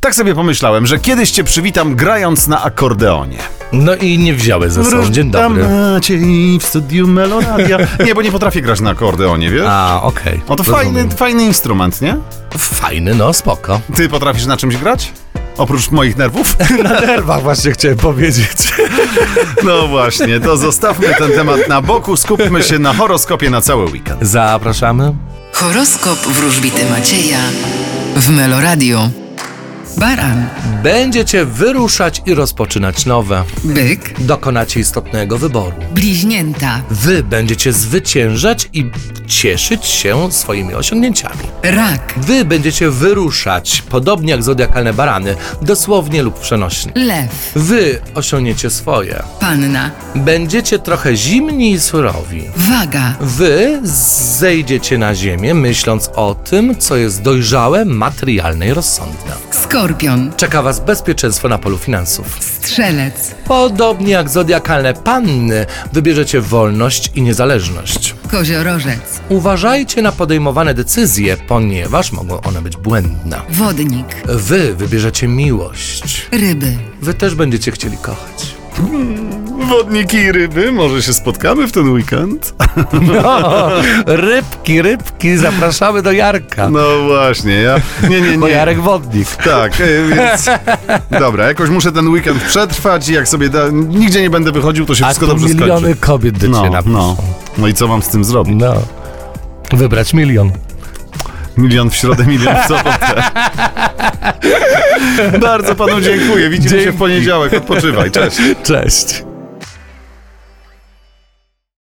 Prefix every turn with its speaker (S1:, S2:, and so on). S1: Tak sobie pomyślałem, że kiedyś cię przywitam grając na akordeonie.
S2: No i nie wziąłeś ze sobą. Dzień dobry.
S1: Maciej w studiu Meloradia. Nie, bo nie potrafię grać na akordeonie, wiesz?
S2: A, okej.
S1: No to fajny,
S2: Rozumiem.
S1: fajny instrument, nie?
S2: Fajny, no spoko.
S1: Ty potrafisz na czymś grać? Oprócz moich nerwów?
S2: Na nerwach właśnie chciałem powiedzieć.
S1: No właśnie, to zostawmy ten temat na boku, skupmy się na horoskopie na cały weekend.
S2: Zapraszamy.
S3: Horoskop wróżbity Macieja w Meloradio. Baran,
S2: Będziecie wyruszać i rozpoczynać nowe.
S3: byk,
S2: Dokonacie istotnego wyboru.
S3: bliźnięta,
S2: Wy będziecie zwyciężać i cieszyć się swoimi osiągnięciami.
S3: rak,
S2: Wy będziecie wyruszać, podobnie jak zodiakalne barany, dosłownie lub przenośnie.
S3: lew,
S2: Wy osiągniecie swoje.
S3: panna,
S2: Będziecie trochę zimni i surowi.
S3: waga,
S2: Wy zejdziecie na ziemię, myśląc o tym, co jest dojrzałe, materialne i rozsądne.
S3: skorpion,
S2: Czeka Was bezpieczeństwo na polu finansów.
S3: strzelec,
S2: Podobnie jak zodiakalne panny, wybierzecie wolność i niezależność.
S3: koziorożec,
S2: Uważajcie na podejmowane decyzje, ponieważ mogą one być błędne.
S3: wodnik,
S2: Wy wybierzecie miłość.
S3: ryby,
S2: Wy też będziecie chcieli kochać.
S1: Wodniki i ryby, może się spotkamy w ten weekend?
S2: No, rybki, rybki, zapraszamy do Jarka.
S1: No właśnie, ja... Nie, nie,
S2: Bo
S1: nie.
S2: Jarek Wodnik.
S1: Tak, y, więc... Dobra, jakoś muszę ten weekend przetrwać i jak sobie da... Nigdzie nie będę wychodził, to się
S2: A
S1: wszystko
S2: tu
S1: dobrze
S2: miliony
S1: skończy.
S2: kobiet do ciebie
S1: No, no. No i co mam z tym zrobić?
S2: no. Wybrać milion.
S1: Milion w środę, milion w sobotę. Bardzo panu dziękuję. Widzimy się w
S2: Dzięki.
S1: poniedziałek. Odpoczywaj. Cześć.
S2: Cześć.